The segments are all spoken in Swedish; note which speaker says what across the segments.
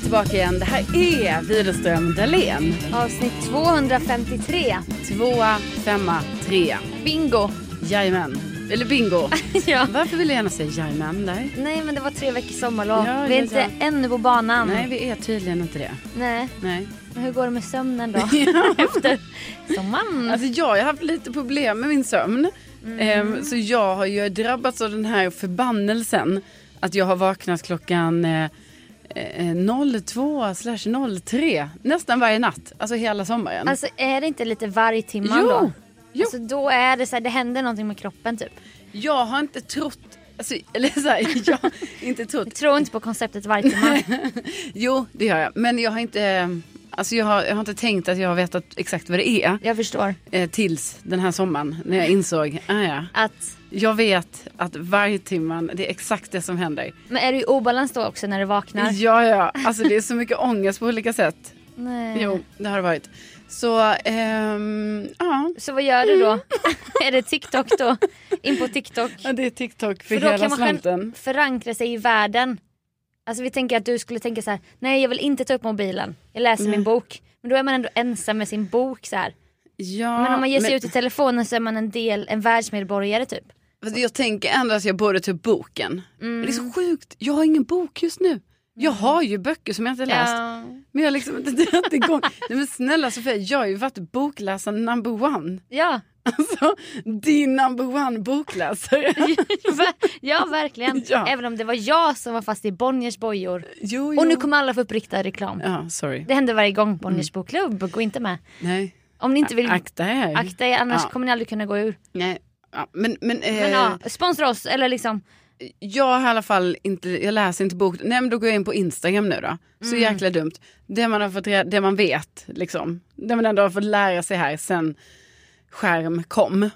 Speaker 1: tillbaka igen. Det här är Widerström Dahlén.
Speaker 2: Avsnitt 253.
Speaker 1: Tvåa, femma, trea.
Speaker 2: Bingo.
Speaker 1: Jajamän. Eller bingo.
Speaker 2: ja.
Speaker 1: Varför vill jag gärna säga jajamän där?
Speaker 2: Nej men det var tre veckors sommarlov.
Speaker 1: Ja,
Speaker 2: vi är
Speaker 1: ja,
Speaker 2: inte ännu på banan.
Speaker 1: Nej, vi är tydligen inte det.
Speaker 2: Nej.
Speaker 1: Nej.
Speaker 2: Men hur går det med sömnen då? Efter sommaren.
Speaker 1: Alltså jag har haft lite problem med min sömn. Ehm, så jag har ju drabbats av den här förbannelsen. Att jag har vaknat klockan eh, eh, 02 slash 03. Nästan varje natt. Alltså hela sommaren.
Speaker 2: Alltså är det inte lite varg timman
Speaker 1: Jo,
Speaker 2: då?
Speaker 1: jo.
Speaker 2: Alltså då är det så här, det händer någonting med kroppen typ.
Speaker 1: jag har inte trott. Alltså, eller så här, jag har inte trott.
Speaker 2: Jag tror inte på konceptet varg timman.
Speaker 1: Jo, det gör jag. Men jag har inte, eh, alltså jag har, jag har inte tänkt att jag har vetat exakt vad det är.
Speaker 2: jag förstår.
Speaker 1: Eh, tills den här sommaren när jag insåg. Ah, ja.
Speaker 2: Att,
Speaker 1: Jag vet att varje timman, det är exakt det som händer.
Speaker 2: men är du i obalans då också när du vaknar?
Speaker 1: Ja, ja. Alltså det är så mycket ångest på olika sätt.
Speaker 2: Nej.
Speaker 1: Jo, det har det varit. Så, ehm, ja.
Speaker 2: Så vad gör du då? är det TikTok då? In på TikTok.
Speaker 1: Ja, Det är TikTok för,
Speaker 2: För då
Speaker 1: hela
Speaker 2: kan man själv
Speaker 1: slanten.
Speaker 2: förankra sig i världen. Alltså vi tänker att du skulle tänka så här, nej jag vill inte ta upp mobilen, jag läser min bok. Men då är man ändå ensam med sin bok så här.
Speaker 1: Ja,
Speaker 2: Men om man ger sig ut i telefonen så är man en del, en världsmedborgare typ.
Speaker 1: Fast jag tänker ändå att jag borde ta upp boken. Men Det är
Speaker 2: Mm.
Speaker 1: så sjukt, jag har ingen bok just nu. Jag har ju böcker som jag inte läst.
Speaker 2: Ja.
Speaker 1: Men jag har liksom inte dragit igång. Nej men snälla Sofia, jag har ju varit bokläsaren number one.
Speaker 2: Ja,
Speaker 1: Alltså din number one bokläsare.
Speaker 2: ver- ja verkligen.
Speaker 1: Ja.
Speaker 2: Även om det var jag som var fast i Bonniers bojor.
Speaker 1: Jo, jo.
Speaker 2: Och nu kommer alla få upp riktad reklam.
Speaker 1: Ja, sorry.
Speaker 2: Det händer varje gång Bonniers bokklubb, gå inte med.
Speaker 1: Nej.
Speaker 2: Om ni inte vill
Speaker 1: Mm. Akta er.
Speaker 2: akta er annars
Speaker 1: Ja.
Speaker 2: kommer ni aldrig kunna gå ur.
Speaker 1: Nej. Ja, men men, eh,
Speaker 2: Men ja, sponsra oss eller liksom,
Speaker 1: jag har i alla fall inte, jag läser inte bok. Nej men då går jag in på Instagram nu då. Så jäkla dumt. Det man har fått, reda- det man vet liksom. Det man ändå har fått lära sig här sen skärm kom.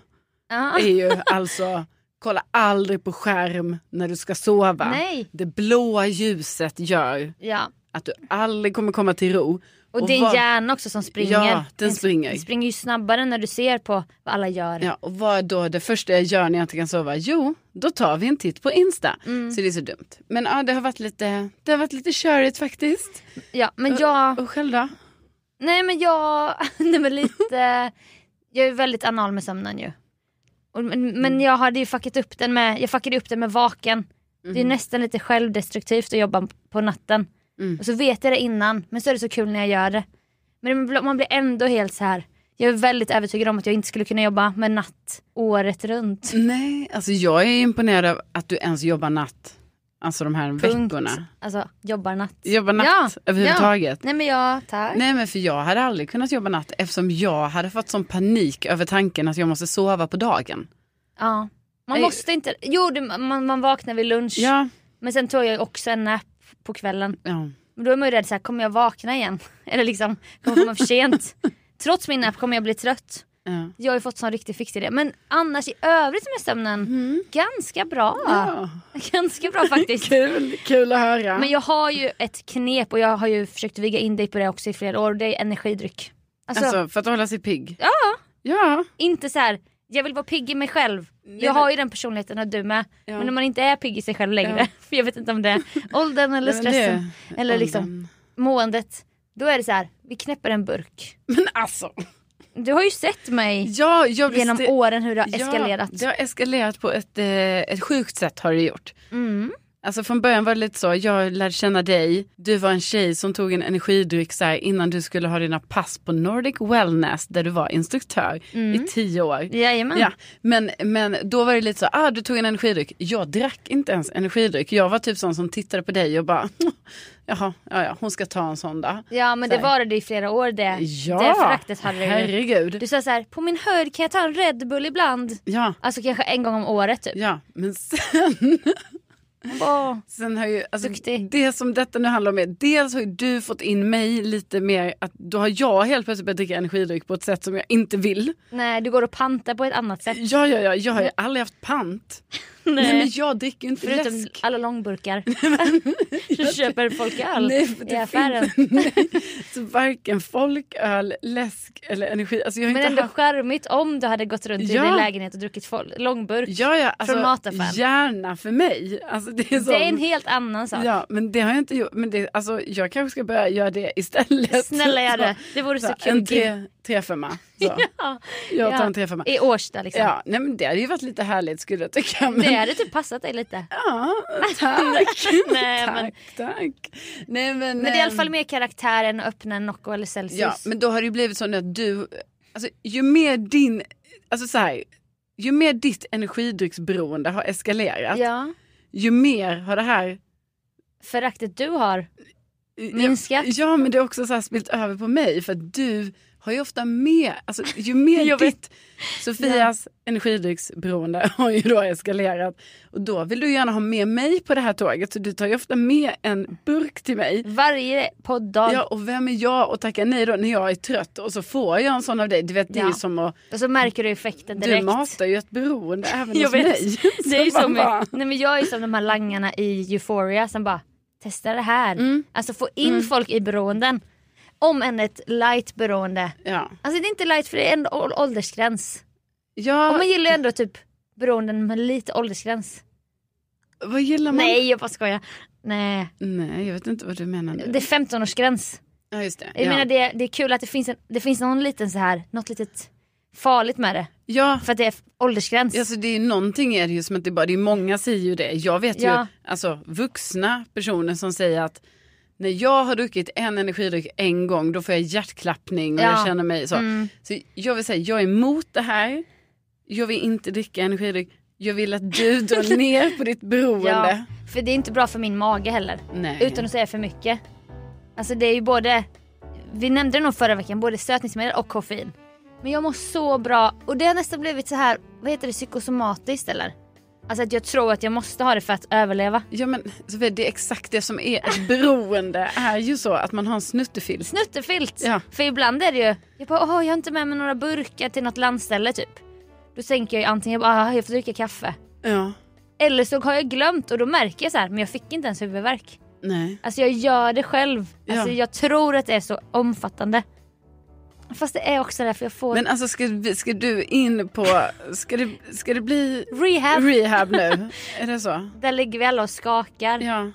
Speaker 2: ja.
Speaker 1: är ju alltså, kolla aldrig på skärm när du ska sova.
Speaker 2: Nej.
Speaker 1: Det blåa ljuset gör
Speaker 2: ja.
Speaker 1: att du aldrig kommer komma till ro.
Speaker 2: Och, din
Speaker 1: var-
Speaker 2: hjärna också som springer.
Speaker 1: Ja, den springer.
Speaker 2: Den springer ju snabbare när du ser på vad alla gör.
Speaker 1: Ja, och vad är då det första jag gör när jag inte kan sova? Jo, då tar vi en titt på Insta.
Speaker 2: Mm.
Speaker 1: Så det är så dumt. Men ja, det har varit lite, det har varit lite körigt faktiskt.
Speaker 2: Ja, men jag...
Speaker 1: Och själv då?
Speaker 2: Nej men jag... Nej men lite... Jag är väldigt anal med sömnen ju. Och, men,
Speaker 1: Mm.
Speaker 2: men jag hade ju fuckat upp den med... Jag fuckade upp den med vaken.
Speaker 1: Mm.
Speaker 2: Det är nästan lite självdestruktivt att jobba på natten.
Speaker 1: Mm.
Speaker 2: Och så vet jag det innan, men så är det så kul när jag gör det. Men det- man blir ändå helt så här... Jag är väldigt övertygad om att jag inte skulle kunna jobba med natt året runt.
Speaker 1: Nej, alltså jag är imponerad av att du ens jobbar natt. Alltså de här veckorna.
Speaker 2: Alltså, jobbar natt.
Speaker 1: Jobbar natt
Speaker 2: Ja,
Speaker 1: överhuvudtaget.
Speaker 2: Nej men jag, tack.
Speaker 1: Nej men för jag hade aldrig kunnat jobba natt eftersom jag hade fått sån panik över tanken att jag måste sova på dagen.
Speaker 2: Ja. Man
Speaker 1: Nej.
Speaker 2: måste inte, jo det, man, man vaknar vid lunch
Speaker 1: Ja.
Speaker 2: men sen tog jag också en nap på kvällen.
Speaker 1: ja.
Speaker 2: Men då är man ju rädd såhär, kommer jag vakna igen? Eller liksom, kommer jag komma för sent? Trots min nap kommer jag bli trött.
Speaker 1: ja.
Speaker 2: Jag har ju fått sån riktig fix i det. Men annars i övrigt med sömnen,
Speaker 1: Mm.
Speaker 2: ganska bra. Ganska bra faktiskt.
Speaker 1: Kul, kul att höra.
Speaker 2: Men jag har ju ett knep och jag har ju försökt vigga in dig på det också i flera år. Det är energidryck. Alltså,
Speaker 1: alltså för att hålla sig pigg.
Speaker 2: ja.
Speaker 1: Ja.
Speaker 2: inte så här. jag vill vara pigg i mig själv. jag
Speaker 1: men-
Speaker 2: har ju den personligheten och du med.
Speaker 1: Ja.
Speaker 2: Men när man inte är pigg i sig själv längre,
Speaker 1: Ja.
Speaker 2: för jag vet inte om det är åldern eller
Speaker 1: Nej, men det-
Speaker 2: stressen eller liksom
Speaker 1: åldern.
Speaker 2: måendet. Då är det så här, vi knäpper en burk.
Speaker 1: Men alltså.
Speaker 2: Du har ju sett mig
Speaker 1: Ja, jag
Speaker 2: genom
Speaker 1: visste-
Speaker 2: åren hur det har eskalerat.
Speaker 1: Ja, det har eskalerat på ett, eh, ett sjukt sätt har det gjort.
Speaker 2: Mm.
Speaker 1: Alltså från början var det lite så, jag lärde känna dig, du var en tjej som tog en energidryck så här, innan du skulle ha dina pass på Nordic Wellness där du var instruktör
Speaker 2: Mm.
Speaker 1: i tio år.
Speaker 2: Jajamän.
Speaker 1: Ja, men, men då var det lite så, ah, du tog en energidryck. Jag drack inte ens energidryck. Jag var typ sån som tittade på dig och bara, jaha, ja, ja, hon ska ta en sån där.
Speaker 2: Ja men
Speaker 1: Så
Speaker 2: det
Speaker 1: här.
Speaker 2: var det i flera år det.
Speaker 1: Ja,
Speaker 2: Det föraktet hade du ju.
Speaker 1: herregud.
Speaker 2: Du sa så här, på min höjd kan jag ta en Red Bull ibland.
Speaker 1: Ja,
Speaker 2: Alltså kanske en gång om året typ.
Speaker 1: ja, men sen,
Speaker 2: Åh,
Speaker 1: sen har ju, alltså,
Speaker 2: Duktig.
Speaker 1: det som detta nu handlar om är, dels har ju du fått in mig lite mer, att då har jag helt plötsligt börjat dricka energidryck på ett sätt som jag inte vill.
Speaker 2: nej du går och pantar på ett annat sätt.
Speaker 1: Ja, ja, ja, jag har
Speaker 2: Mm.
Speaker 1: ju aldrig haft pant. Nej, men jag dricker ju inte
Speaker 2: Förutom
Speaker 1: läsk.
Speaker 2: alla långburkar. Du köper folk öl
Speaker 1: Nej, för det
Speaker 2: i affären.
Speaker 1: finns- nej. Så varken folköl, läsk eller energi. Alltså jag har
Speaker 2: Men
Speaker 1: inte
Speaker 2: ändå
Speaker 1: haft...
Speaker 2: charmigt om du hade gått runt i
Speaker 1: Ja.
Speaker 2: din lägenhet och druckit fol- långburk.
Speaker 1: Ja, ja, alltså,
Speaker 2: mataffären.
Speaker 1: gärna för mig. Alltså, Alltså, det är, så...
Speaker 2: Det är en helt annan sak.
Speaker 1: Ja, men det har jag inte gjort. Men det, alltså, jag kanske ska börja göra det istället.
Speaker 2: Snälla gör
Speaker 1: Så-
Speaker 2: det. Det vore så,
Speaker 1: Så,
Speaker 2: kul.
Speaker 1: en tre, trefemma. Så.
Speaker 2: Ja.
Speaker 1: Jag tar
Speaker 2: Ja.
Speaker 1: en trefemma.
Speaker 2: I Årsta liksom.
Speaker 1: Ja, nej, men det hade ju varit lite härligt skulle jag tycka. Men...
Speaker 2: Det hade typ passat dig lite.
Speaker 1: Ja, tack.
Speaker 2: Nej,
Speaker 1: tack,
Speaker 2: men-
Speaker 1: tack. Nej, men,
Speaker 2: Men det är i alla fall mer karaktär än att öppna en Nocco eller Celsius.
Speaker 1: Ja, men då har det ju blivit så nu att du, alltså ju mer din, alltså så här, ju mer ditt energidrycksberoende har eskalerat,
Speaker 2: Ja.
Speaker 1: ju mer har det här
Speaker 2: Föraktet du har.
Speaker 1: Ja,
Speaker 2: Minskat.
Speaker 1: ja men det har också så här spilt över på mig för att du har ju ofta med, alltså ju mer
Speaker 2: Jag vet.
Speaker 1: ditt Sofias energidrycksberoende har ju då eskalerat och då vill du gärna ha med mig på det här tåget så du tar ju ofta med en burk till mig.
Speaker 2: Varje podd-dag.
Speaker 1: Ja och vem är jag att tacka nej då när jag är trött och så får jag en sån av dig. Du vet det är ju
Speaker 2: Ja.
Speaker 1: som att
Speaker 2: Och så märker du effekten
Speaker 1: du
Speaker 2: direkt.
Speaker 1: matar ju ett beroende även
Speaker 2: Jag
Speaker 1: hos
Speaker 2: vet.
Speaker 1: mig.
Speaker 2: Det är ju
Speaker 1: Så man
Speaker 2: som,
Speaker 1: bara-
Speaker 2: nej, men jag är som de här langarna i Euphoria som bara testa det här.
Speaker 1: Mm.
Speaker 2: Alltså få in folk i beroenden. Om än ett light beroende.
Speaker 1: Ja.
Speaker 2: Alltså det är inte light för det är ändå å- åldersgräns.
Speaker 1: Ja,
Speaker 2: Och man gillar ju ändå typ beroenden med lite åldersgräns.
Speaker 1: vad gillar man?
Speaker 2: Nej jag bara skojar. Nej,
Speaker 1: Nej, jag vet inte vad du menar nu.
Speaker 2: det är 15-årsgräns.
Speaker 1: Ja, just det.
Speaker 2: Jag
Speaker 1: ja.
Speaker 2: menar det, det är kul att det finns, en, det finns någon liten så här, något litet farligt med det.
Speaker 1: ja,
Speaker 2: För att det är f- åldersgräns.
Speaker 1: Alltså det är ju någonting är det ju som inte bara, det är många säger ju det. Jag vet ju
Speaker 2: Ja.
Speaker 1: alltså vuxna personer som säger att när jag har druckit en energidryck en gång då får jag hjärtklappning och
Speaker 2: Ja.
Speaker 1: jag känner mig så.
Speaker 2: Mm.
Speaker 1: Så jag vill säga, jag är emot det här. Jag vill inte dricka energidryck. Jag vill att du drar ner på ditt beroende.
Speaker 2: Ja, för det är inte bra för min mage heller.
Speaker 1: Nej.
Speaker 2: Utan att säga för mycket. Alltså det är ju både, vi nämnde det nog förra veckan, både sötningsmedel och koffein. Men jag mår så bra och det har nästan blivit så här, vad heter det, psykosomatiskt eller? Alltså att jag tror att jag måste ha det för att överleva.
Speaker 1: Ja men Sofia, det är exakt det som är ett beroende. är ju så att man har en snuttefilt.
Speaker 2: Snuttefilt!
Speaker 1: Ja.
Speaker 2: För ibland är det ju, jag bara åh jag har inte med mig några burkar till något landställe typ. Då tänker jag ju antingen jag bara, "Ah, jag får dricka kaffe.
Speaker 1: Ja.
Speaker 2: Eller så har jag glömt och då märker jag så här, men jag fick inte ens huvudvärk.
Speaker 1: Nej.
Speaker 2: Alltså jag gör det själv.
Speaker 1: Ja.
Speaker 2: Alltså jag tror att det är så omfattande. Fast det är också därför jag får
Speaker 1: Men alltså ska, vi- ska du in på, ska det, ska det bli
Speaker 2: rehab.
Speaker 1: Rehab nu, är det så?
Speaker 2: Där ligger vi alla och skakar.
Speaker 1: Ja.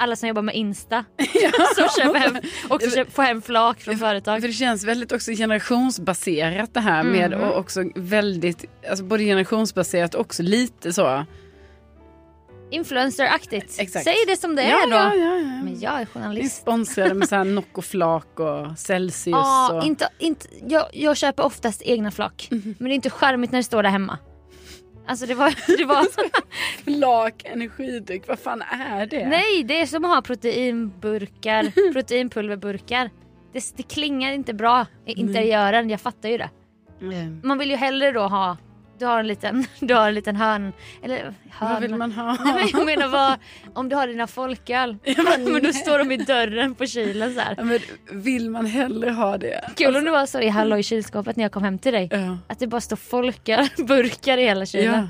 Speaker 2: Alla som jobbar med Insta. Som köper hem, också köper, får hem flak från företag.
Speaker 1: För det känns väldigt också generationsbaserat det här med
Speaker 2: Mm.
Speaker 1: och också väldigt, alltså både generationsbaserat och också lite så.
Speaker 2: Influenceraktigt.
Speaker 1: Exakt.
Speaker 2: Säg det som det
Speaker 1: ja,
Speaker 2: är då.
Speaker 1: ja, ja, ja.
Speaker 2: Men jag är
Speaker 1: Vi är
Speaker 2: journalist.
Speaker 1: sponsrade med så här Noccoflak och Celsius.
Speaker 2: Ja,
Speaker 1: och...
Speaker 2: inte, inte, jag, jag köper oftast egna flak.
Speaker 1: Mhm.
Speaker 2: Men det är inte charmigt när det står där hemma. Alltså det var, det var
Speaker 1: Flak, energidryck, vad fan är det?
Speaker 2: Nej, det är som att ha proteinburkar, proteinpulverburkar. Det, det klingar inte bra i interiören, jag fattar ju det.
Speaker 1: Mm.
Speaker 2: Man vill ju hellre då ha, du har en liten, du har en liten hörn, eller
Speaker 1: Vad vill
Speaker 2: hörna.
Speaker 1: man ha?
Speaker 2: Nej, men jag menar vad, om du har dina folköl, men, då står de i dörren på kylen så här.
Speaker 1: Ja, alltså. men vill man hellre ha det?
Speaker 2: Kul om det var så i Hallå i kylskåpet när jag kom hem till dig.
Speaker 1: Ja.
Speaker 2: Att det bara står folkölburkar i hela kylen.
Speaker 1: ja.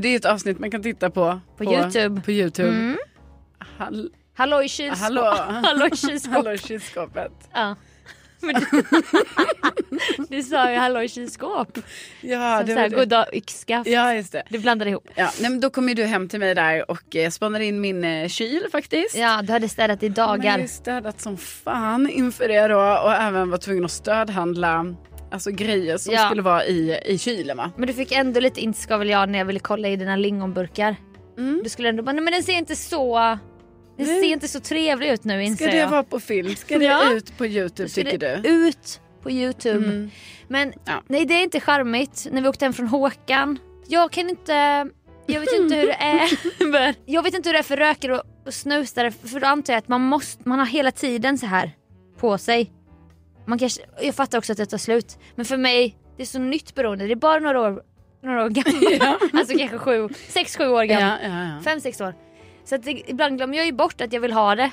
Speaker 1: Det är ett avsnitt man kan titta på.
Speaker 2: På Youtube.
Speaker 1: På YouTube.
Speaker 2: Mm.
Speaker 1: Hall-
Speaker 2: Hallå i kylskåpet.
Speaker 1: Hallå.
Speaker 2: Hallå i kylskåpet.
Speaker 1: Hallå kylskåpet.
Speaker 2: Ja. Men du, du sa ju hallå i kylskåp.
Speaker 1: Ja,
Speaker 2: som
Speaker 1: det
Speaker 2: så här,
Speaker 1: var det.
Speaker 2: goddag yxskaft.
Speaker 1: Ja, just det.
Speaker 2: Du blandade ihop.
Speaker 1: Ja, nej, men då kom ju du hem till mig där och eh, spannade in min eh, kyl faktiskt.
Speaker 2: Ja, du hade städat i
Speaker 1: Man har
Speaker 2: dagar.
Speaker 1: ju städat som fan inför det då och även var tvungen att stödhandla alltså, grejer som
Speaker 2: Ja.
Speaker 1: skulle vara i, i kylen va?
Speaker 2: Men du fick ändå lite inskavel jag när jag ville kolla i dina lingonburkar.
Speaker 1: Mm.
Speaker 2: Du skulle ändå bara, nej men den ser inte så... Den
Speaker 1: Nej.
Speaker 2: ser inte så trevlig ut nu inser
Speaker 1: Ska det
Speaker 2: jag.
Speaker 1: vara på film? Ska det
Speaker 2: Ja.
Speaker 1: ut på Youtube
Speaker 2: Ska
Speaker 1: tycker
Speaker 2: det
Speaker 1: du?
Speaker 2: Ut på Youtube.
Speaker 1: Mm.
Speaker 2: Men
Speaker 1: Ja.
Speaker 2: nej det är inte charmigt. När vi åkte hem från Håkan. Jag kan inte... Jag vet inte hur det är. Men jag vet inte hur det är för rökare och, och snusare. För då antar jag att man måste, man har hela tiden så här på sig. Man kanske, jag fattar också att det tar slut. Men för mig, det är så nytt beroende. Det är bara några år, några år gammalt.
Speaker 1: Ja.
Speaker 2: Alltså kanske sju, sex, sju år
Speaker 1: Ja,
Speaker 2: gammalt.
Speaker 1: ja, ja.
Speaker 2: Fem, sex år. Så att det, ibland glömmer jag ju bort att jag vill ha det.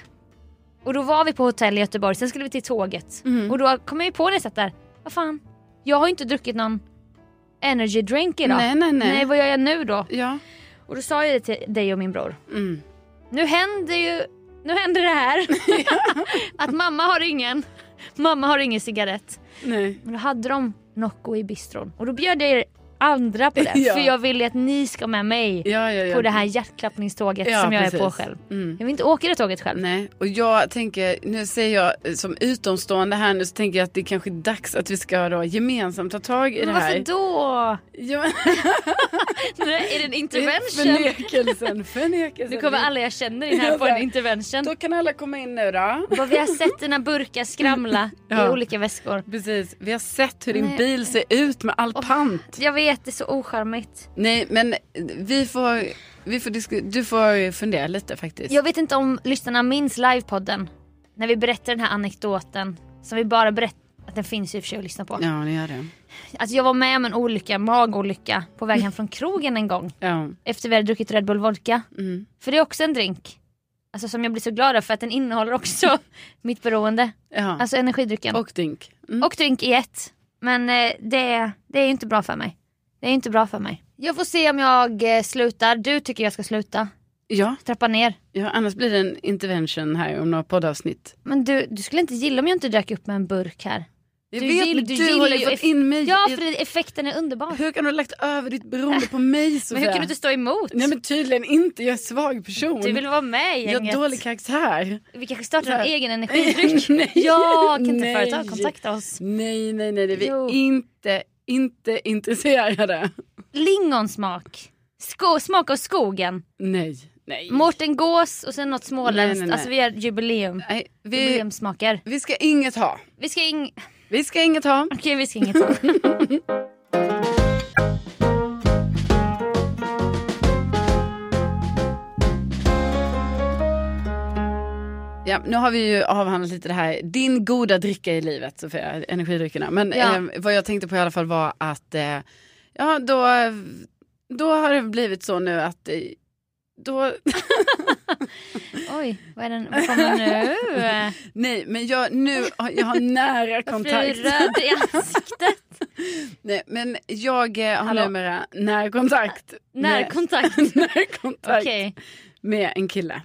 Speaker 2: Och då var vi på hotell i Göteborg, sen skulle vi till tåget.
Speaker 1: Mm.
Speaker 2: Och då kom jag ju på när jag satt där, vad fan, jag har ju inte druckit någon energy drink idag.
Speaker 1: Nej, nej, nej.
Speaker 2: nej vad gör jag nu då?
Speaker 1: Ja.
Speaker 2: Och då sa jag det till dig och min bror.
Speaker 1: Mm.
Speaker 2: Nu händer ju, nu händer det här. att mamma har ingen, mamma har ingen cigarett.
Speaker 1: Nej.
Speaker 2: Men då hade de Nocco i bistron. Och då bjöd jag er andra på det.
Speaker 1: Ja.
Speaker 2: För jag vill ju att ni ska med mig
Speaker 1: Ja, ja, ja.
Speaker 2: på det här hjärtklappningståget
Speaker 1: Ja,
Speaker 2: som jag
Speaker 1: precis.
Speaker 2: är på själv.
Speaker 1: Mm.
Speaker 2: Jag vill inte åka det tåget själv.
Speaker 1: Nej, och jag tänker, nu säger jag eh, som utomstående här nu så tänker jag att det kanske är dags att vi ska då gemensamt ta tag i det
Speaker 2: Men
Speaker 1: här.
Speaker 2: varför då?
Speaker 1: Ja, men-
Speaker 2: Nej, är det en intervention?
Speaker 1: Förnekelsen, förnekelsen.
Speaker 2: Nu kommer alla jag känner in
Speaker 1: Alltså, Ja,
Speaker 2: här på en
Speaker 1: där.
Speaker 2: intervention.
Speaker 1: Då kan alla komma in nu då.
Speaker 2: Vad vi har sett dina burkar skramla i
Speaker 1: Ja.
Speaker 2: olika väskor.
Speaker 1: Precis, vi har sett hur din
Speaker 2: Nej.
Speaker 1: bil ser ut med all pant.
Speaker 2: Jag vet, det är så ocharmigt.
Speaker 1: Nej, men vi får, vi får disku- du får fundera lite faktiskt.
Speaker 2: Jag vet inte om lyssnarna minns livepodden. När vi berättar den här anekdoten. Som vi bara berättar. Att den finns ju i och för sig att lyssna på.
Speaker 1: Ja, ni gör det.
Speaker 2: Alltså jag var med om en olycka, magolycka, på väg hem från krogen en gång.
Speaker 1: Ja,
Speaker 2: Efter vi hade druckit Red Bull Vodka.
Speaker 1: mm.
Speaker 2: För det är också en drink. Alltså som jag blir så glad av för att den innehåller också mitt beroende.
Speaker 1: ja.
Speaker 2: Alltså energidrycken. Och,
Speaker 1: och dink. Mm.
Speaker 2: drink i ett. Men eh, det, det är ju inte bra för mig. Det är inte bra för mig. Jag får se om jag eh, slutar. Du tycker jag ska sluta.
Speaker 1: Ja,
Speaker 2: Trappa ner.
Speaker 1: ja, annars blir det en intervention här om några poddavsnitt.
Speaker 2: Men du, du skulle inte gilla om jag inte drack upp med en burk här.
Speaker 1: Jag
Speaker 2: Du
Speaker 1: vet,
Speaker 2: gill-
Speaker 1: men
Speaker 2: du
Speaker 1: du,
Speaker 2: gillar
Speaker 1: har
Speaker 2: ju
Speaker 1: ju fått
Speaker 2: eff-
Speaker 1: in mig.
Speaker 2: Ja,
Speaker 1: i-
Speaker 2: för det- effekten är underbar.
Speaker 1: Hur kan du ha lagt över ditt beroende på mig
Speaker 2: Men
Speaker 1: Sofia?
Speaker 2: hur kan du inte stå emot?
Speaker 1: Nej men tydligen inte, jag är svag person.
Speaker 2: Du vill vara med i
Speaker 1: jag
Speaker 2: gänget.
Speaker 1: har dålig karaktär.
Speaker 2: Vi kanske startar en
Speaker 1: Nej.
Speaker 2: egen energidryck. ja, kan inte företag kontakta oss?
Speaker 1: Nej, nej, nej, nej. vi
Speaker 2: Jo.
Speaker 1: är inte, inte intresserade.
Speaker 2: Lingonsmak. Sko- smak av skogen.
Speaker 1: Nej, nej.
Speaker 2: Mårten Gås och sen något småländskt.
Speaker 1: Nej, nej, nej.
Speaker 2: Alltså vi gör jubileum.
Speaker 1: nej vi,
Speaker 2: Jubileumsmaker.
Speaker 1: vi ska inget ha.
Speaker 2: Vi ska ing...
Speaker 1: Vi ska inget ha.
Speaker 2: Okej, vi ska inget ha.
Speaker 1: Ja, nu har vi ju avhandlat lite det här, din goda dricka i livet Sofia, energidryckerna. Men
Speaker 2: Ja.
Speaker 1: eh, vad jag tänkte på i alla fall var att eh, ja, då, då har det blivit så nu att eh, då,
Speaker 2: Oj, vad är den? Vad kommer nu?
Speaker 1: nej men jag, nu, har- jag har nära
Speaker 2: Varför är
Speaker 1: kontakt.
Speaker 2: du röd i ansiktet?
Speaker 1: Nej, men jag eh, har
Speaker 2: Hallå?
Speaker 1: numera närkontakt.
Speaker 2: Närkontakt.
Speaker 1: Med, närkontakt
Speaker 2: Okej.
Speaker 1: med en kille.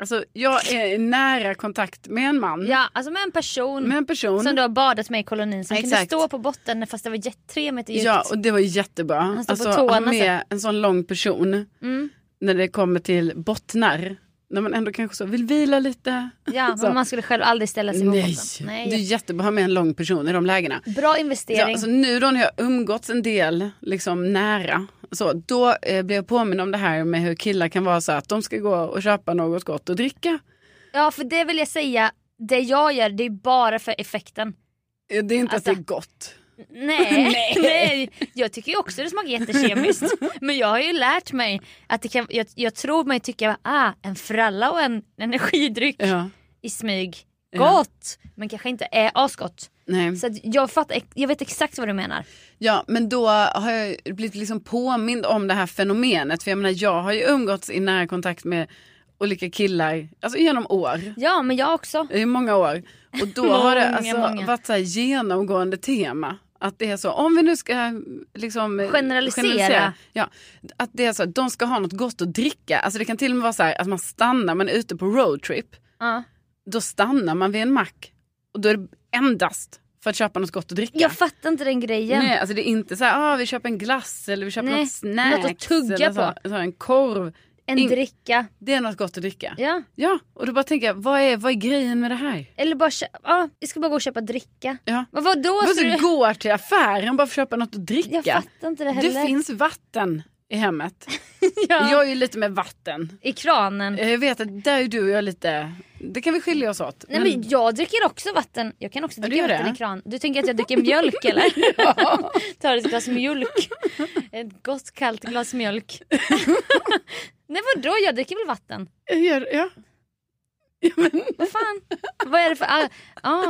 Speaker 1: Alltså jag är i nära kontakt med en man,
Speaker 2: Ja, alltså med en person
Speaker 1: med en person.
Speaker 2: som du har badat med i kolonin som kunde
Speaker 1: Exakt.
Speaker 2: stå på botten fast det var jätte- tre meter djupt.
Speaker 1: Ja, och det var jättebra.
Speaker 2: Han står på
Speaker 1: Alltså ha
Speaker 2: tårna
Speaker 1: med en sån lång person
Speaker 2: Mm.
Speaker 1: när det kommer till bottnar. När man ändå kanske så vill vila lite.
Speaker 2: ja
Speaker 1: så.
Speaker 2: men man skulle själv aldrig ställa sig på
Speaker 1: Nej,
Speaker 2: botten.
Speaker 1: det är
Speaker 2: Nej.
Speaker 1: jättebra att ha med en lång person i de lägena.
Speaker 2: Bra
Speaker 1: Ja,
Speaker 2: investering.
Speaker 1: alltså nu då när jag umgåtts en del liksom nära, så, då eh, blev jag påminn om det här med hur killar kan vara så att de ska gå och köpa något gott att dricka.
Speaker 2: Ja för det vill jag säga, det jag gör det är bara för effekten.
Speaker 1: Eh, Det är inte
Speaker 2: Alltså-
Speaker 1: att det är gott.
Speaker 2: Nej, nej.
Speaker 1: Nej.
Speaker 2: jag tycker ju också det smakar jättekemiskt. men jag har ju lärt mig att det kan, jag, jag tror mig tycka ah, en fralla och en energidryck
Speaker 1: Ja,
Speaker 2: i smyg.
Speaker 1: Ja.
Speaker 2: Gott! Men kanske inte är asgott.
Speaker 1: nej.
Speaker 2: Så att jag, fattar, jag vet exakt vad du menar.
Speaker 1: Ja, men då har jag blivit liksom påmind om det här fenomenet. För jag menar, jag har ju umgåtts i nära kontakt med olika killar, alltså genom år,
Speaker 2: Ja men jag också.
Speaker 1: i många år. Och då har det
Speaker 2: Många,
Speaker 1: alltså
Speaker 2: många.
Speaker 1: varit så här genomgående tema. Att det är så, om vi nu ska liksom eh,
Speaker 2: Generalisera.
Speaker 1: ja, att det är så, att de ska ha något gott att dricka. Alltså det kan till och med vara så här att man stannar, man är ute på roadtrip.
Speaker 2: Ja.
Speaker 1: Då stannar man vid en mack och då är det endast för att köpa något gott att dricka.
Speaker 2: Jag fattar inte den grejen.
Speaker 1: Nej, alltså det är inte så här, ah, vi köper en glass eller vi köper
Speaker 2: Nej,
Speaker 1: något snacks.
Speaker 2: något att tugga
Speaker 1: eller så, Så, här, en korv.
Speaker 2: En
Speaker 1: Ing-
Speaker 2: dricka.
Speaker 1: Det är något gott att dricka.
Speaker 2: Ja.
Speaker 1: Ja, och då bara tänker jag, vad är, vad är grejen med det här?
Speaker 2: Eller bara kö- ja, vi ska bara gå och köpa dricka.
Speaker 1: Ja.
Speaker 2: Men vadå?
Speaker 1: Man måste
Speaker 2: ska du-
Speaker 1: gå till affären bara för att köpa något att
Speaker 2: Jag
Speaker 1: dricka.
Speaker 2: fattar inte det
Speaker 1: Det
Speaker 2: heller.
Speaker 1: finns vatten i hemmet.
Speaker 2: ja.
Speaker 1: Jag är ju lite med vatten. Eh,
Speaker 2: I kranen.
Speaker 1: Jag vet att där är du och jag lite, det kan vi skilja oss åt.
Speaker 2: Nej men jag dricker också vatten. Jag kan också
Speaker 1: Ja, du
Speaker 2: dricka
Speaker 1: gör
Speaker 2: vatten
Speaker 1: det?
Speaker 2: i kran. Du tänker att jag dricker mjölk eller? Tar ett glas mjölk. Ett gott kallt glas mjölk. Nej vadå? Jag dricker väl vatten?
Speaker 1: Jag Eh, gör- ja.
Speaker 2: Vad fan? Vad är det för... Ah, ah,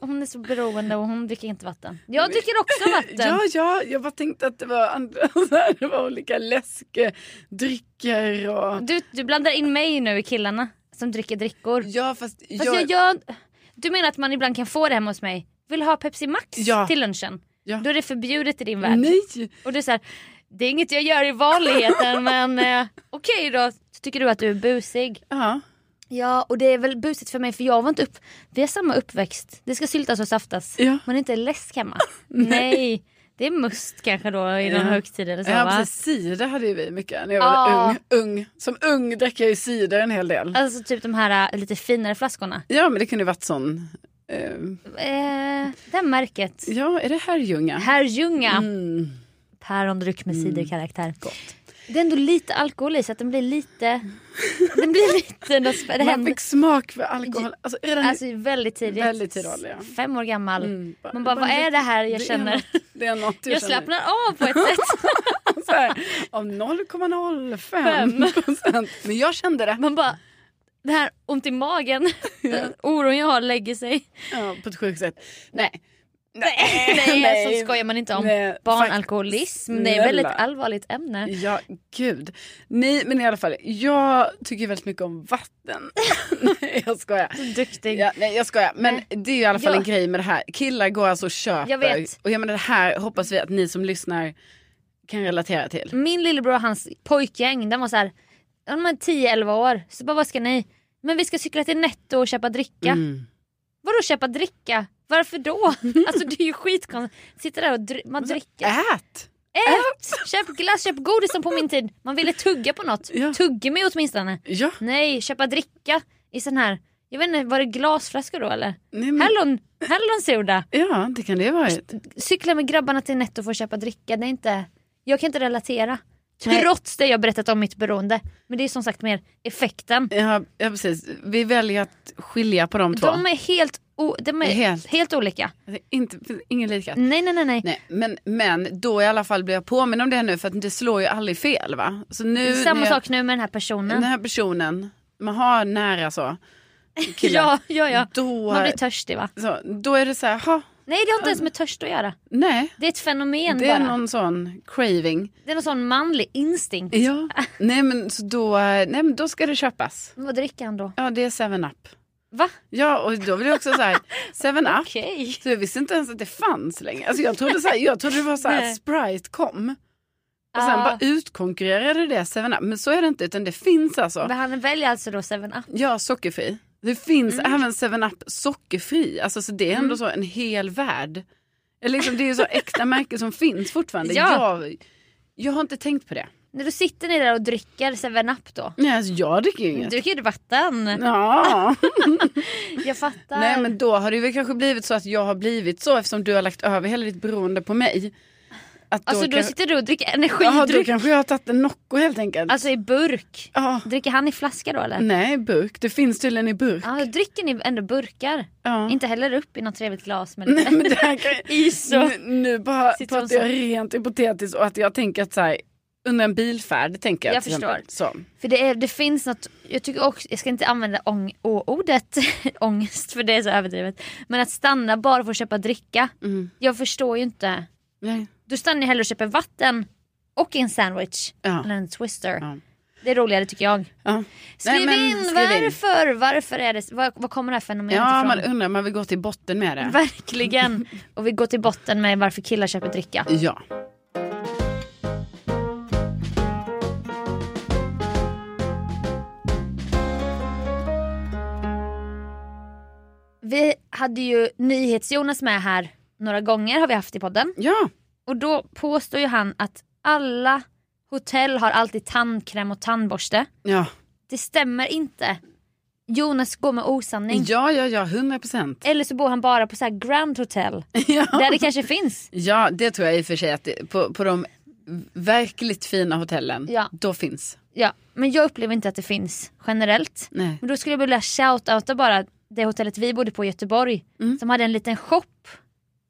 Speaker 2: hon är så beroende och hon dricker inte vatten. Jag dricker också vatten.
Speaker 1: Ja, ja, jag bara tänkte att det var, andra, så här, det var olika läskedrycker och...
Speaker 2: Du, du blandar in mig nu i killarna som dricker drickor.
Speaker 1: Ja, fast,
Speaker 2: Fast jag... gör... Du menar att man ibland kan få det hemma hos mig? Vill ha Pepsi Max
Speaker 1: Ja.
Speaker 2: till lunchen?
Speaker 1: Ja.
Speaker 2: Då är det förbjudet i din värld.
Speaker 1: Nej,
Speaker 2: Och det är så här, det är inget jag gör i vanligheten men eh, okej då. Så tycker du att du är busig.
Speaker 1: ja.
Speaker 2: Ja och det är väl busigt för mig för jag var inte upp... Vi har samma uppväxt. Det ska syltas och saftas.
Speaker 1: Ja.
Speaker 2: Men inte läsk hemma. Nej. Det är must kanske då i någon
Speaker 1: Ja.
Speaker 2: högtid eller så
Speaker 1: Ja,
Speaker 2: Alltså, va?
Speaker 1: precis. Cider hade ju vi mycket när jag var
Speaker 2: Ja.
Speaker 1: ung, ung. Som ung drack jag ju cider en hel del.
Speaker 2: Alltså typ de här äh, lite finare flaskorna.
Speaker 1: Ja, men det kunde ju varit sån... Eh,
Speaker 2: Eh, det här märket.
Speaker 1: ja, är det Herrljunga?
Speaker 2: Herrljunga.
Speaker 1: Mm.
Speaker 2: Pärondryck med ciderkaraktär. Mm. Det är ändå lite alkohol i så att den blir lite... den blir lite... något spä- Det
Speaker 1: Man
Speaker 2: händer
Speaker 1: fick smak för alkohol. Alltså, redan
Speaker 2: alltså, väldigt tidigt.
Speaker 1: Väldigt tidig ålder, ja.
Speaker 2: Fem år gammal.
Speaker 1: Mm,
Speaker 2: Man bara, vad är det här jag
Speaker 1: det är
Speaker 2: känner?
Speaker 1: något- Det är något du
Speaker 2: Jag
Speaker 1: känner.
Speaker 2: slappnar av på ett sätt.
Speaker 1: Så här, av 0,05 procent. Men jag kände det.
Speaker 2: Man bara, det här ont i magen, den oron jag har lägger sig.
Speaker 1: Ja, på ett sjukt sätt. Nej.
Speaker 2: Nej, så skojar man inte om.
Speaker 1: Nej,
Speaker 2: Barnalkoholism, det är
Speaker 1: Eh, snälla.
Speaker 2: ett väldigt allvarligt ämne.
Speaker 1: Ja, gud. Nej, men i alla fall. Jag tycker väldigt mycket om vatten. nej, jag skojar.
Speaker 2: Duktig.
Speaker 1: Ja, nej, jag skojar. Men
Speaker 2: Nej.
Speaker 1: det är ju i alla fall
Speaker 2: Ja.
Speaker 1: en grej med det här. Killar går alltså och köper.
Speaker 2: Jag vet.
Speaker 1: Och jag menar, det här hoppas vi att ni som lyssnar kan relatera till.
Speaker 2: Min lillebror och hans pojkgäng, de var så här, de var 10-11 år. Så bara, vad ska ni? Men vi ska cykla till Netto och köpa dricka.
Speaker 1: Mm.
Speaker 2: Vadå köpa dricka? Varför då? Alltså det är ju skitkonstigt. Sitta där och dr- man dricker.
Speaker 1: Ät!
Speaker 2: Ät! Köp glass, köp godis som på min tid. Man ville tugga på något.
Speaker 1: Ja.
Speaker 2: Tuggummi åtminstone.
Speaker 1: Ja,
Speaker 2: Nej, köpa dricka i sån här, jag vet inte, var det glasflaskor då eller?
Speaker 1: nej, men,
Speaker 2: Hallon, hallonsoda.
Speaker 1: ja det kan det ju ha varit.
Speaker 2: Cykla med grabbarna till Netto för att köpa dricka, det är inte, jag kan inte relatera.
Speaker 1: Nej.
Speaker 2: Trots det jag berättat om mitt beroende. Men det är som sagt mer effekten.
Speaker 1: Ja, ja, precis. Vi väljer att skilja på de två.
Speaker 2: De är helt, o- de är
Speaker 1: Helt.
Speaker 2: helt. olika.
Speaker 1: Det är Inte, finns ingen likhet.
Speaker 2: Nej, nej, nej, nej.
Speaker 1: Nej, men, men då i alla fall blir jag påminn om det nu för att det slår ju aldrig fel va? Så nu,
Speaker 2: Samma
Speaker 1: när jag,
Speaker 2: sak nu med den här personen.
Speaker 1: Den här personen, man har nära så, killar.
Speaker 2: ja, ja, ja.
Speaker 1: då,
Speaker 2: Man blir törstig va?
Speaker 1: så, då är det så här, ha,
Speaker 2: Nej det har inte ens med törst att göra.
Speaker 1: nej.
Speaker 2: Det är ett fenomen
Speaker 1: Det är
Speaker 2: bara.
Speaker 1: någon sån craving.
Speaker 2: Det är någon sån manlig instinkt.
Speaker 1: Ja. nej men så då, eh, nej, men då ska det köpas.
Speaker 2: Vad dricker han då?
Speaker 1: Ja det är 7-Up.
Speaker 2: Va?
Speaker 1: Ja och då blir det också så här, 7-Up.
Speaker 2: Okej.
Speaker 1: Så jag visste inte ens att det fanns längre. Alltså jag trodde, så här, jag trodde det var så här
Speaker 2: Nej.
Speaker 1: att Sprite kom. Och sen
Speaker 2: Ah.
Speaker 1: bara utkonkurrerade det 7-Up. Men så är det inte utan det finns alltså.
Speaker 2: Men han väljer alltså då 7-Up.
Speaker 1: Ja, sockerfri. Det finns även 7-Up sockerfri. Alltså, så det är ändå så en hel värld. Eller liksom, det är ju så äkta märken som finns fortfarande.
Speaker 2: Ja.
Speaker 1: Jag, jag har inte tänkt på det.
Speaker 2: När du sitter ni där och dricker 7-Up då?
Speaker 1: Nej, alltså, jag dricker ju
Speaker 2: Du
Speaker 1: inget.
Speaker 2: dricker ju vatten.
Speaker 1: Ja.
Speaker 2: Jag fattar.
Speaker 1: Nej men då har det väl kanske blivit så att jag har blivit så eftersom du har lagt över hela ditt beroende på mig. Att då
Speaker 2: alltså då
Speaker 1: kanske...
Speaker 2: sitter du och dricker
Speaker 1: Jaha, då
Speaker 2: energidryck.
Speaker 1: kanske jag har tagit en Nocco helt enkelt.
Speaker 2: Alltså i burk.
Speaker 1: Ja.
Speaker 2: Dricker han i flaska då eller?
Speaker 1: Nej, burk. Det finns tydligen i burk.
Speaker 2: Ja, då dricker ni ändå burkar.
Speaker 1: Ja.
Speaker 2: Inte heller upp i något trevligt glas men
Speaker 1: Nej, men det här kan...
Speaker 2: is och...
Speaker 1: Nu, nu bara
Speaker 2: Sitter hon
Speaker 1: pratar jag rent hypotetiskt och att jag tänker att så här, under en bilfärd tänker jag,
Speaker 2: Jag
Speaker 1: till exempel. Så.
Speaker 2: För det, är, det finns något, jag tycker också, jag ska inte använda ång, ordet ångest för det är så överdrivet. Men att stanna bara för att köpa dricka.
Speaker 1: Mm.
Speaker 2: Jag förstår ju inte.
Speaker 1: Nej.
Speaker 2: Du stannar ju hellre och köper vatten och en sandwich.
Speaker 1: Ja.
Speaker 2: Eller en twister.
Speaker 1: Ja.
Speaker 2: Det är roligare tycker jag.
Speaker 1: Ja.
Speaker 2: Skriv
Speaker 1: men
Speaker 2: in
Speaker 1: skriv in.
Speaker 2: varför, varför är det, var, var kommer det här fenomenet
Speaker 1: ja, man
Speaker 2: ifrån?
Speaker 1: undrar, man vill gå till botten med det.
Speaker 2: Verkligen. Och vi går till botten med varför killar köper dricka.
Speaker 1: Ja.
Speaker 2: Vi hade ju NyhetsJonas med här några gånger har vi haft i podden.
Speaker 1: ja.
Speaker 2: Och då påstår ju han att alla hotell har alltid tandkräm och tandborste.
Speaker 1: Ja,
Speaker 2: Det stämmer inte. Jonas går med osanning.
Speaker 1: ja, ja, ja, 100 procent.
Speaker 2: Eller så bor han bara på så här Grand Hotel.
Speaker 1: Ja.
Speaker 2: Där det kanske finns.
Speaker 1: ja, det tror jag i och för sig att det, på, på de verkligt fina hotellen,
Speaker 2: Ja.
Speaker 1: då finns.
Speaker 2: Ja, men jag upplever inte att det finns generellt.
Speaker 1: Nej.
Speaker 2: Men då skulle jag vilja shoutouta bara det hotellet vi bodde på i Göteborg.
Speaker 1: Mm.
Speaker 2: Som hade en liten shop.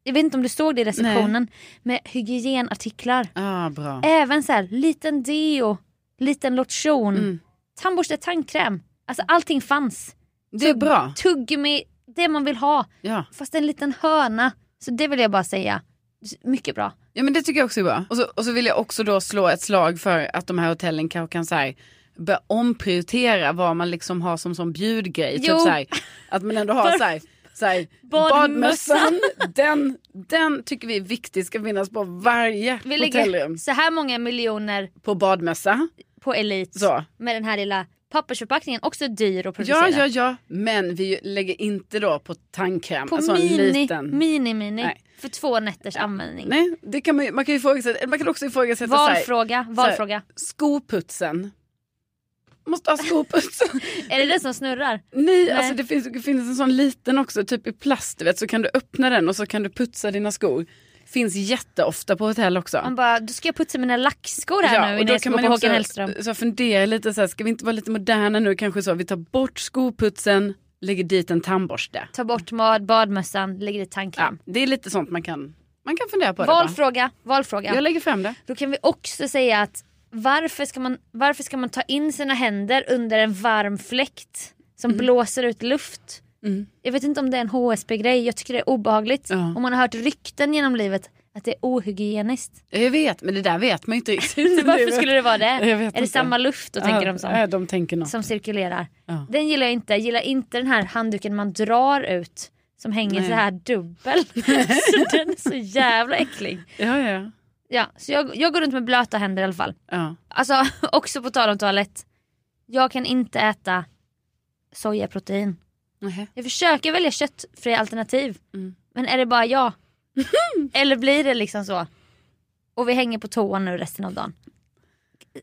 Speaker 2: Jag vet inte om du såg det i receptionen. Med hygienartiklar.
Speaker 1: Ah, bra.
Speaker 2: Även så här liten deo, liten lotion,
Speaker 1: Mm.
Speaker 2: tandborste, tandkräm. Alltså allting fanns.
Speaker 1: Det är bra.
Speaker 2: Tuggummi, det man vill ha.
Speaker 1: Ja.
Speaker 2: Fast en liten hörna. Så det vill jag bara säga. Mycket bra.
Speaker 1: Ja men det tycker jag också är bra. Och så, och så vill jag också då slå ett slag för att de här hotellen kanske kan så här, börja omprioritera vad man liksom har som, som bjudgrej. Typ
Speaker 2: Jo.
Speaker 1: så här, att man ändå har så här, så här,
Speaker 2: Badmössan.
Speaker 1: badmössan, den, den tycker vi är viktig ska finnas på varje
Speaker 2: Vi lägger
Speaker 1: hotellrum.
Speaker 2: så här många miljoner
Speaker 1: På badmössa,
Speaker 2: på Elite
Speaker 1: så.
Speaker 2: med den här lilla pappersförpackningen också dyr att producera.
Speaker 1: Ja, ja, ja. Men vi lägger inte då på tandkräm.
Speaker 2: På
Speaker 1: alltså en
Speaker 2: mini,
Speaker 1: liten.
Speaker 2: mini, mini.
Speaker 1: Nej.
Speaker 2: För två nätters användning.
Speaker 1: Nej, det kan man, ju, man kan ju ifrågasätta. Man kan också ifrågasätta så här,
Speaker 2: Valfråga, valfråga.
Speaker 1: skoputsen. Måste ha skoputs.
Speaker 2: Är det den som snurrar?
Speaker 1: Nej, alltså det finns, det finns en sån liten också, typ i plast du vet, så kan du öppna den och så kan du putsa dina skor. Finns jätteofta på hotell också.
Speaker 2: Man bara, du ska jag putsa mina lackskor här nu innan jag ska gå på
Speaker 1: ju
Speaker 2: Håkan Hellström.
Speaker 1: så fundera lite så här, ska vi inte vara lite moderna nu kanske så, vi tar bort skoputsen, lägger dit en tandborste.
Speaker 2: Ta bort bad, badmössan, lägg dit
Speaker 1: Ja,
Speaker 2: tandkräm.
Speaker 1: det är lite sånt man kan, man kan fundera på. det, bara.
Speaker 2: valfråga, valfråga.
Speaker 1: Jag lägger fram det.
Speaker 2: Då kan vi också säga att varför ska man, varför ska man ta in sina händer under en varm fläkt som blåser ut luft?
Speaker 1: Mm.
Speaker 2: Jag vet inte om det är en HSB-grej, jag tycker det är obehagligt.
Speaker 1: Ja.
Speaker 2: Om man har hört rykten genom livet att det är ohygieniskt.
Speaker 1: Jag vet, men det där vet man ju inte riktigt.
Speaker 2: Varför skulle det vara det?
Speaker 1: Jag vet
Speaker 2: Är det
Speaker 1: inte.
Speaker 2: samma luft då tänker de som,
Speaker 1: Ja, de tänker något.
Speaker 2: som cirkulerar?
Speaker 1: Ja.
Speaker 2: Den gillar jag inte. Jag gillar inte den här handduken man drar ut som hänger
Speaker 1: Nej.
Speaker 2: så här dubbel. så den är så jävla äcklig.
Speaker 1: Ja, ja,
Speaker 2: Ja, så jag, jag går runt med blöta händer i alla fall.
Speaker 1: ja.
Speaker 2: Alltså också på tal om toalett. Jag kan inte äta sojaprotein.
Speaker 1: Nähä.
Speaker 2: Jag försöker välja köttfria alternativ.
Speaker 1: Mm.
Speaker 2: Men är det bara jag? Eller blir det liksom så? Och vi hänger på toan nu resten av dagen.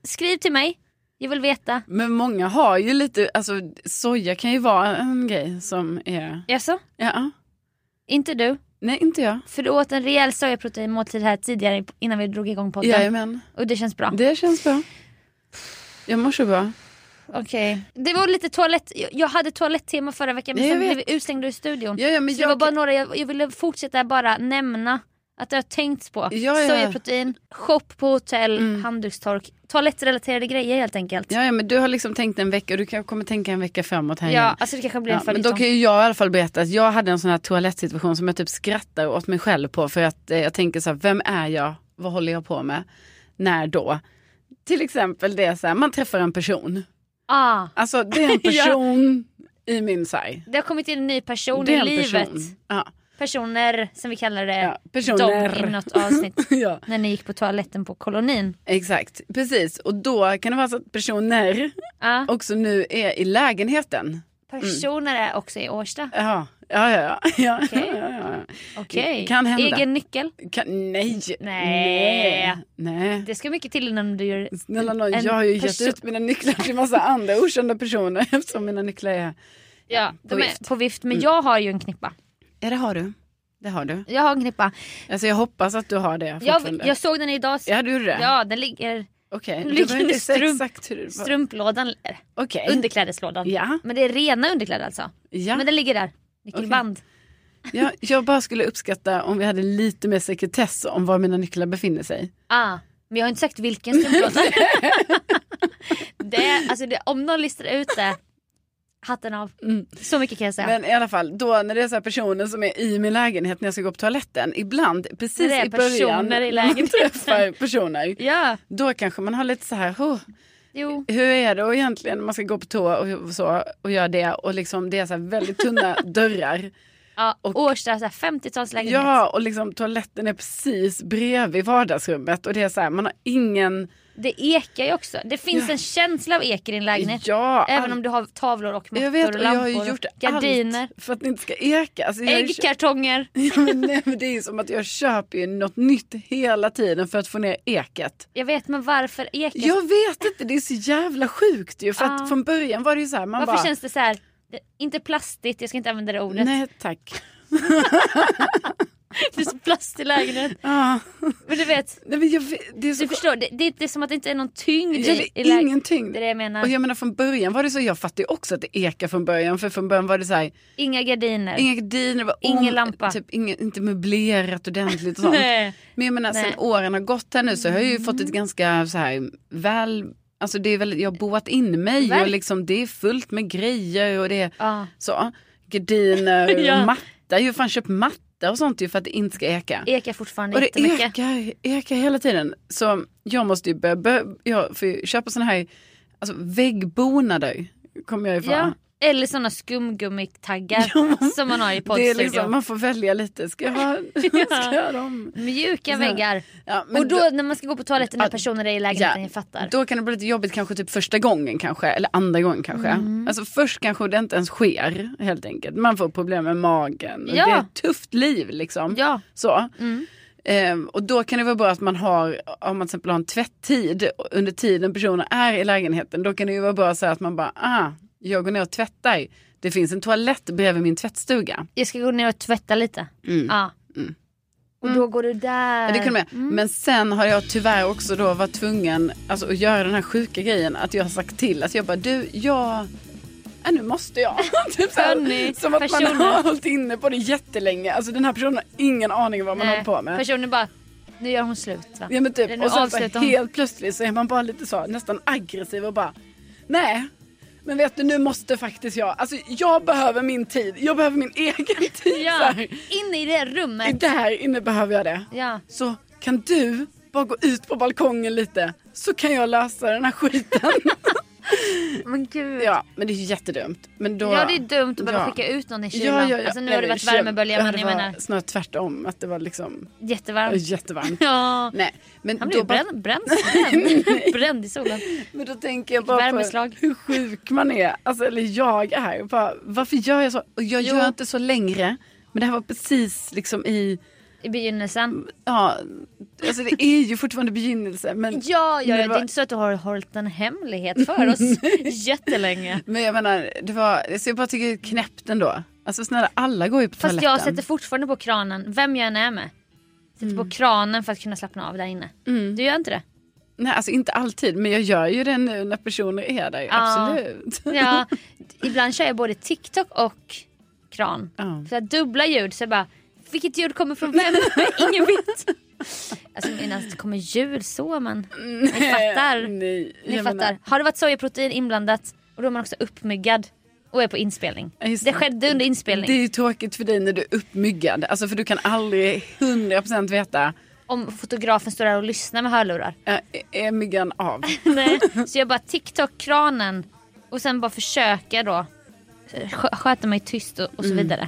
Speaker 2: Skriv till mig. Jag vill veta.
Speaker 1: Men många har ju lite, alltså soja kan ju vara en grej som är,
Speaker 2: Jaså?
Speaker 1: ja.
Speaker 2: Inte du?
Speaker 1: Nej inte jag.
Speaker 2: För du åt en rejäl sojaproteinmåltid här tidigare innan vi drog igång podden.
Speaker 1: Jajamän.
Speaker 2: Och det känns bra.
Speaker 1: Det känns bra. Jag mår så bra.
Speaker 2: Okej. Det var lite toalett. jag- Jag hade toaletttema förra veckan men
Speaker 1: Ja, jag
Speaker 2: sen
Speaker 1: vet.
Speaker 2: blev vi utslängda ur studion.
Speaker 1: Ja, ja, men
Speaker 2: Så det var
Speaker 1: jag,
Speaker 2: bara några, jag, jag ville fortsätta bara nämna att det har tänkts på.
Speaker 1: Ja, ja.
Speaker 2: Sojaprotein, shop på hotell,
Speaker 1: Mm.
Speaker 2: handdukstork, toalettrelaterade grejer helt enkelt.
Speaker 1: ja, ja, men du har liksom tänkt en vecka och du kan- kommer tänka en vecka framåt här
Speaker 2: Ja,
Speaker 1: igen.
Speaker 2: alltså det kanske blir
Speaker 1: Ja,
Speaker 2: en
Speaker 1: men då
Speaker 2: följetong.
Speaker 1: kan ju jag i alla fall berätta att jag hade en sån här toalettsituation som jag typ skrattar åt mig själv på för att eh, jag tänker så här, vem är jag, vad håller jag på med, när då? Till exempel det är så här, man träffar en person.
Speaker 2: Ah,
Speaker 1: Alltså det är en
Speaker 2: Ja.
Speaker 1: person i min sarg.
Speaker 2: det har kommit in en ny person
Speaker 1: det är
Speaker 2: i
Speaker 1: en
Speaker 2: livet. Eh,
Speaker 1: person. Ja,
Speaker 2: Personer som vi kallar det.
Speaker 1: ja,
Speaker 2: Dom i
Speaker 1: personer.
Speaker 2: något avsnitt
Speaker 1: ja,
Speaker 2: när ni gick på toaletten på kolonin.
Speaker 1: exakt. Precis. Och då kan det vara så att personer
Speaker 2: Ah,
Speaker 1: också nu är i lägenheten.
Speaker 2: personer är också i Årsta.
Speaker 1: Ja, ja, ja. ja. ja.
Speaker 2: Okej.
Speaker 1: ja, ja,
Speaker 2: Okej.
Speaker 1: Kan hända.
Speaker 2: Egen nyckel.
Speaker 1: ja. Kan, nej.
Speaker 2: Nej.
Speaker 1: Nej.
Speaker 2: Det ska mycket till innan du gör...
Speaker 1: Snälla nån,
Speaker 2: En
Speaker 1: jag har ju gett
Speaker 2: person-
Speaker 1: ut mina nycklar till massa andra okända personer eftersom mina nycklar är...
Speaker 2: Ja, de
Speaker 1: på
Speaker 2: är
Speaker 1: vift.
Speaker 2: på vift. Men jag har ju en knippa.
Speaker 1: Ja, det har du. Det har du.
Speaker 2: Jag har en knippa.
Speaker 1: Alltså jag hoppas att du har det fortfarande.
Speaker 2: Jag, jag såg den idag.
Speaker 1: Ja, du gjorde det?
Speaker 2: Ja, den ligger
Speaker 1: Okej,
Speaker 2: Nu
Speaker 1: du
Speaker 2: ligger
Speaker 1: behöver inte
Speaker 2: det
Speaker 1: säga
Speaker 2: strump-
Speaker 1: exakt hur det var.
Speaker 2: strumplådan, eller
Speaker 1: Okej.
Speaker 2: underklädeslådan.
Speaker 1: Ja,
Speaker 2: Men det är rena underkläder alltså.
Speaker 1: ja,
Speaker 2: Men den ligger där. Nyckelband.
Speaker 1: ja. Jag bara skulle uppskatta om vi hade lite mer sekretess om var mina nycklar befinner sig.
Speaker 2: Ah, men jag har inte sagt vilken strumplåda. det, är- alltså det, om någon listar ut det, hatten av.
Speaker 1: Mm.
Speaker 2: Så mycket kan jag säga.
Speaker 1: Men i alla fall, då när det är så här personer som är i min lägenhet när jag ska gå på toaletten, ibland precis
Speaker 2: När det är
Speaker 1: i början
Speaker 2: personer i
Speaker 1: man
Speaker 2: lägenheten.
Speaker 1: träffar personer,
Speaker 2: ja,
Speaker 1: då kanske man har lite så här, "Åh,
Speaker 2: jo.
Speaker 1: hur är det och egentligen när man ska gå på toa och hur- så och gör det och liksom det är så här väldigt tunna dörrar.
Speaker 2: Ja,
Speaker 1: Och-
Speaker 2: Årsta, så här 50-talslägenhet.
Speaker 1: Ja, och liksom toaletten är precis bredvid vardagsrummet och det är så här, man har ingen...
Speaker 2: Det ekar ju också. Det finns
Speaker 1: Ja.
Speaker 2: en känsla av ek i din lägenhet.
Speaker 1: Ja,
Speaker 2: Även
Speaker 1: all-
Speaker 2: om du har tavlor och mattor
Speaker 1: Jag vet
Speaker 2: och
Speaker 1: och jag har
Speaker 2: lampor
Speaker 1: ju gjort
Speaker 2: och gardiner.
Speaker 1: allt för att det inte ska eka. Alltså, jag har ju kö-
Speaker 2: Äggkartonger.
Speaker 1: Ja, men nej, men det är ju som att jag köper ju något nytt hela tiden för att få ner eket.
Speaker 2: Jag vet men varför ekar
Speaker 1: Jag vet inte, det är så jävla sjukt ju. För att
Speaker 2: Ja.
Speaker 1: från början var det ju så här, man
Speaker 2: Varför
Speaker 1: bara...
Speaker 2: känns det så här? det- Inte plastigt, jag ska inte använda det ordet.
Speaker 1: Nej tack.
Speaker 2: Det är så plast i lägenheten.
Speaker 1: Ah.
Speaker 2: Men du vet,
Speaker 1: Nej, men jag, vet- det är så
Speaker 2: du förstår, det, det, är- det är som att det inte är någon tyngd
Speaker 1: jag vet
Speaker 2: i, i lägenheten.
Speaker 1: ingenting.
Speaker 2: Det är det jag menar.
Speaker 1: Och jag menar från början var det så, jag fattade ju också att det ekar från början. För från början var det så här,
Speaker 2: Inga gardiner.
Speaker 1: inga gardiner, det var
Speaker 2: Ingen
Speaker 1: om-
Speaker 2: lampa.
Speaker 1: Typ, inget- inte möblerat ordentligt och sånt.
Speaker 2: Nej.
Speaker 1: Men jag menar, sen
Speaker 2: Nej.
Speaker 1: åren har gått här nu så har jag ju fått ett ganska så här väl, alltså det är väl, jag har boat in mig och
Speaker 2: Verkligen.
Speaker 1: liksom det är fullt med grejer och det är
Speaker 2: Ja.
Speaker 1: så, gardiner och
Speaker 2: Ja.
Speaker 1: matta, jag har ju fan köpt matta och sånt ju för att det inte ska eka.
Speaker 2: Ekar fortfarande
Speaker 1: Och det
Speaker 2: jättemycket.
Speaker 1: ekar, ekar hela tiden. Så jag måste ju börja, börja jag får ju köpa såna här alltså väggbonader kommer jag ifrån.
Speaker 2: Ja. Eller såna skumgummitaggar som man har i
Speaker 1: Det är
Speaker 2: poddstudion.
Speaker 1: liksom, man får välja lite. Ska jag ha, ska jag ha dem?
Speaker 2: Mjuka
Speaker 1: Så-
Speaker 2: väggar.
Speaker 1: Ja, men
Speaker 2: Och då, när man ska gå på toaletten när
Speaker 1: Ja,
Speaker 2: personen är i lägenheten,
Speaker 1: ja.
Speaker 2: jag fattar.
Speaker 1: Då kan det bli lite jobbigt kanske typ första gången kanske, eller andra gången kanske.
Speaker 2: Mm.
Speaker 1: Alltså först kanske det inte ens sker helt enkelt. Man får problem med magen.
Speaker 2: Ja.
Speaker 1: Det är ett tufft liv liksom.
Speaker 2: Ja.
Speaker 1: Så.
Speaker 2: Mm.
Speaker 1: Ehm, och då kan det vara bra att man har, om man till exempel har en tvätttid under tiden personen är i lägenheten. Då kan det ju vara bra så här att man bara, ah, jag går ner och tvättar. Det finns en toalett bredvid min tvättstuga.
Speaker 2: Jag ska gå ner och tvätta lite.
Speaker 1: Mm.
Speaker 2: Ja.
Speaker 1: Mm.
Speaker 2: Och då går du där.
Speaker 1: Ja, det kunde man.
Speaker 2: Mm.
Speaker 1: Men sen har jag tyvärr också då varit tvungen alltså, att göra den här sjuka grejen att jag har sagt till att jag bara du, jag, ja, nu måste jag. typ så här.
Speaker 2: Hörni,
Speaker 1: Som att man
Speaker 2: personer.
Speaker 1: har hållit inne på det jättelänge. Alltså den här personen har ingen aning om vad man
Speaker 2: Nej,
Speaker 1: håller på med.
Speaker 2: Personen bara, nu gör hon slut va?
Speaker 1: Ja, men
Speaker 2: Eller
Speaker 1: typ.
Speaker 2: nu
Speaker 1: Och sen så
Speaker 2: avslutar hon.
Speaker 1: helt plötsligt så är man bara lite så nästan aggressiv och bara nej. Men vet du nu måste faktiskt jag, alltså jag behöver min tid, jag behöver min egen tid. så
Speaker 2: Ja,
Speaker 1: här.
Speaker 2: inne i det
Speaker 1: I
Speaker 2: rummet.
Speaker 1: Där inne behöver jag det
Speaker 2: Ja.
Speaker 1: så kan du bara gå ut på balkongen lite så kan jag lösa den här skiten.
Speaker 2: Men gud. Ja.
Speaker 1: ja, men det är ju jättedumt. Men då...
Speaker 2: det är dumt att bara
Speaker 1: Ja.
Speaker 2: skicka ut någon i kylan.
Speaker 1: Ja, ja, ja.
Speaker 2: Alltså nu
Speaker 1: Nej,
Speaker 2: har det
Speaker 1: nej,
Speaker 2: varit
Speaker 1: shit.
Speaker 2: värmebölja men
Speaker 1: Det
Speaker 2: jag
Speaker 1: var
Speaker 2: menar
Speaker 1: Snarare tvärtom, att det var liksom
Speaker 2: jättevarmt.
Speaker 1: jättevarmt.
Speaker 2: Ja.
Speaker 1: Nej, men
Speaker 2: Han
Speaker 1: då,
Speaker 2: blev
Speaker 1: bara,
Speaker 2: bränd, bränd, bränd, bränd i solen.
Speaker 1: men då tänker jag bara på
Speaker 2: Värmeslag.
Speaker 1: hur sjuk man är. Alltså, eller jag är. Bara, varför gör jag så? Och jag
Speaker 2: Jo.
Speaker 1: gör inte så längre. Men det här var precis liksom i...
Speaker 2: I begynnelsen.
Speaker 1: Ja, alltså det är ju fortfarande begynnelse. Men
Speaker 2: Ja, ja,
Speaker 1: Men det
Speaker 2: ja, det
Speaker 1: var-
Speaker 2: är inte så att du har hållit en hemlighet för oss jättelänge.
Speaker 1: Men jag menar, det var, så jag bara tycker det är knäppt ändå. Alltså snälla, alla går ju på
Speaker 2: Fast
Speaker 1: toaletten.
Speaker 2: jag sätter fortfarande på kranen, vem jag än är med. Sätter på kranen för att kunna slappna av där inne.
Speaker 1: Mm.
Speaker 2: Du gör inte det?
Speaker 1: Nej, alltså inte alltid, men jag gör ju det nu när personer är där. Absolut.
Speaker 2: Ja, ibland kör jag både TikTok och kran.
Speaker 1: Ja.
Speaker 2: För att dubbla ljud så jag bara, vilket ljud kommer från vem? Ingen vet. Alltså innan det kommer ljud så men
Speaker 1: Ni
Speaker 2: fattar.
Speaker 1: Nej,
Speaker 2: ni
Speaker 1: jag
Speaker 2: fattar.
Speaker 1: menar-
Speaker 2: Har det varit sojaprotein inblandat och då är man också uppmyggad och är på inspelning.
Speaker 1: Ja, just
Speaker 2: Det
Speaker 1: det.
Speaker 2: skedde under inspelning.
Speaker 1: Det är ju tråkigt för dig när du är uppmyggad. Alltså för du kan aldrig 100% veta.
Speaker 2: Om fotografen står där och lyssnar med hörlurar.
Speaker 1: Äh, är myggan av?
Speaker 2: Nej. Så jag bara TikTok-kranen och sen bara försöka då eh, skö- sköta mig tyst och, och
Speaker 1: Mm,
Speaker 2: så vidare.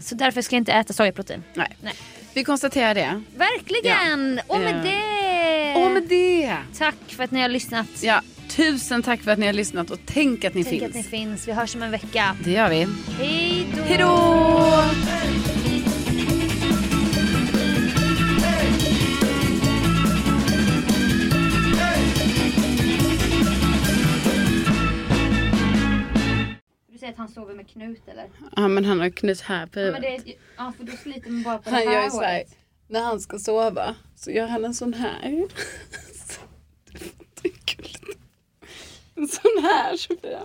Speaker 2: Så därför ska jag inte äta sojaprotein.
Speaker 1: Nej.
Speaker 2: Nej.
Speaker 1: Vi konstaterar det.
Speaker 2: Verkligen! Och med
Speaker 1: Eh.
Speaker 2: det!
Speaker 1: Och med det!
Speaker 2: Tack för att ni har lyssnat.
Speaker 1: Eh, Ja, tusen tack för att ni har lyssnat och tänk att ni
Speaker 2: Tänk
Speaker 1: finns.
Speaker 2: att ni finns. Vi hörs om en vecka.
Speaker 1: Det gör vi.
Speaker 2: Hej då!
Speaker 1: Hej då!
Speaker 2: Du säger att han sover med Knut eller?
Speaker 1: Ja, men han har knutit här på
Speaker 2: Ja,
Speaker 1: huvudet.
Speaker 2: men det, är- ja för då sliter man bara på det
Speaker 1: Han gör
Speaker 2: här
Speaker 1: ju så här,
Speaker 2: håret.
Speaker 1: när han ska sova så gör han en sån här. Så, det är gulligt. En sån här Sofia.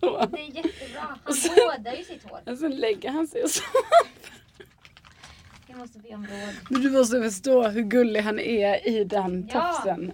Speaker 1: Så.
Speaker 2: Det är jättebra. Han vårdar ju sitt hår.
Speaker 1: Och sen lägger han sig och så.
Speaker 2: Jag måste be om råd.
Speaker 1: Men du måste förstå hur gullig han är i den
Speaker 2: Ja.
Speaker 1: tofsen.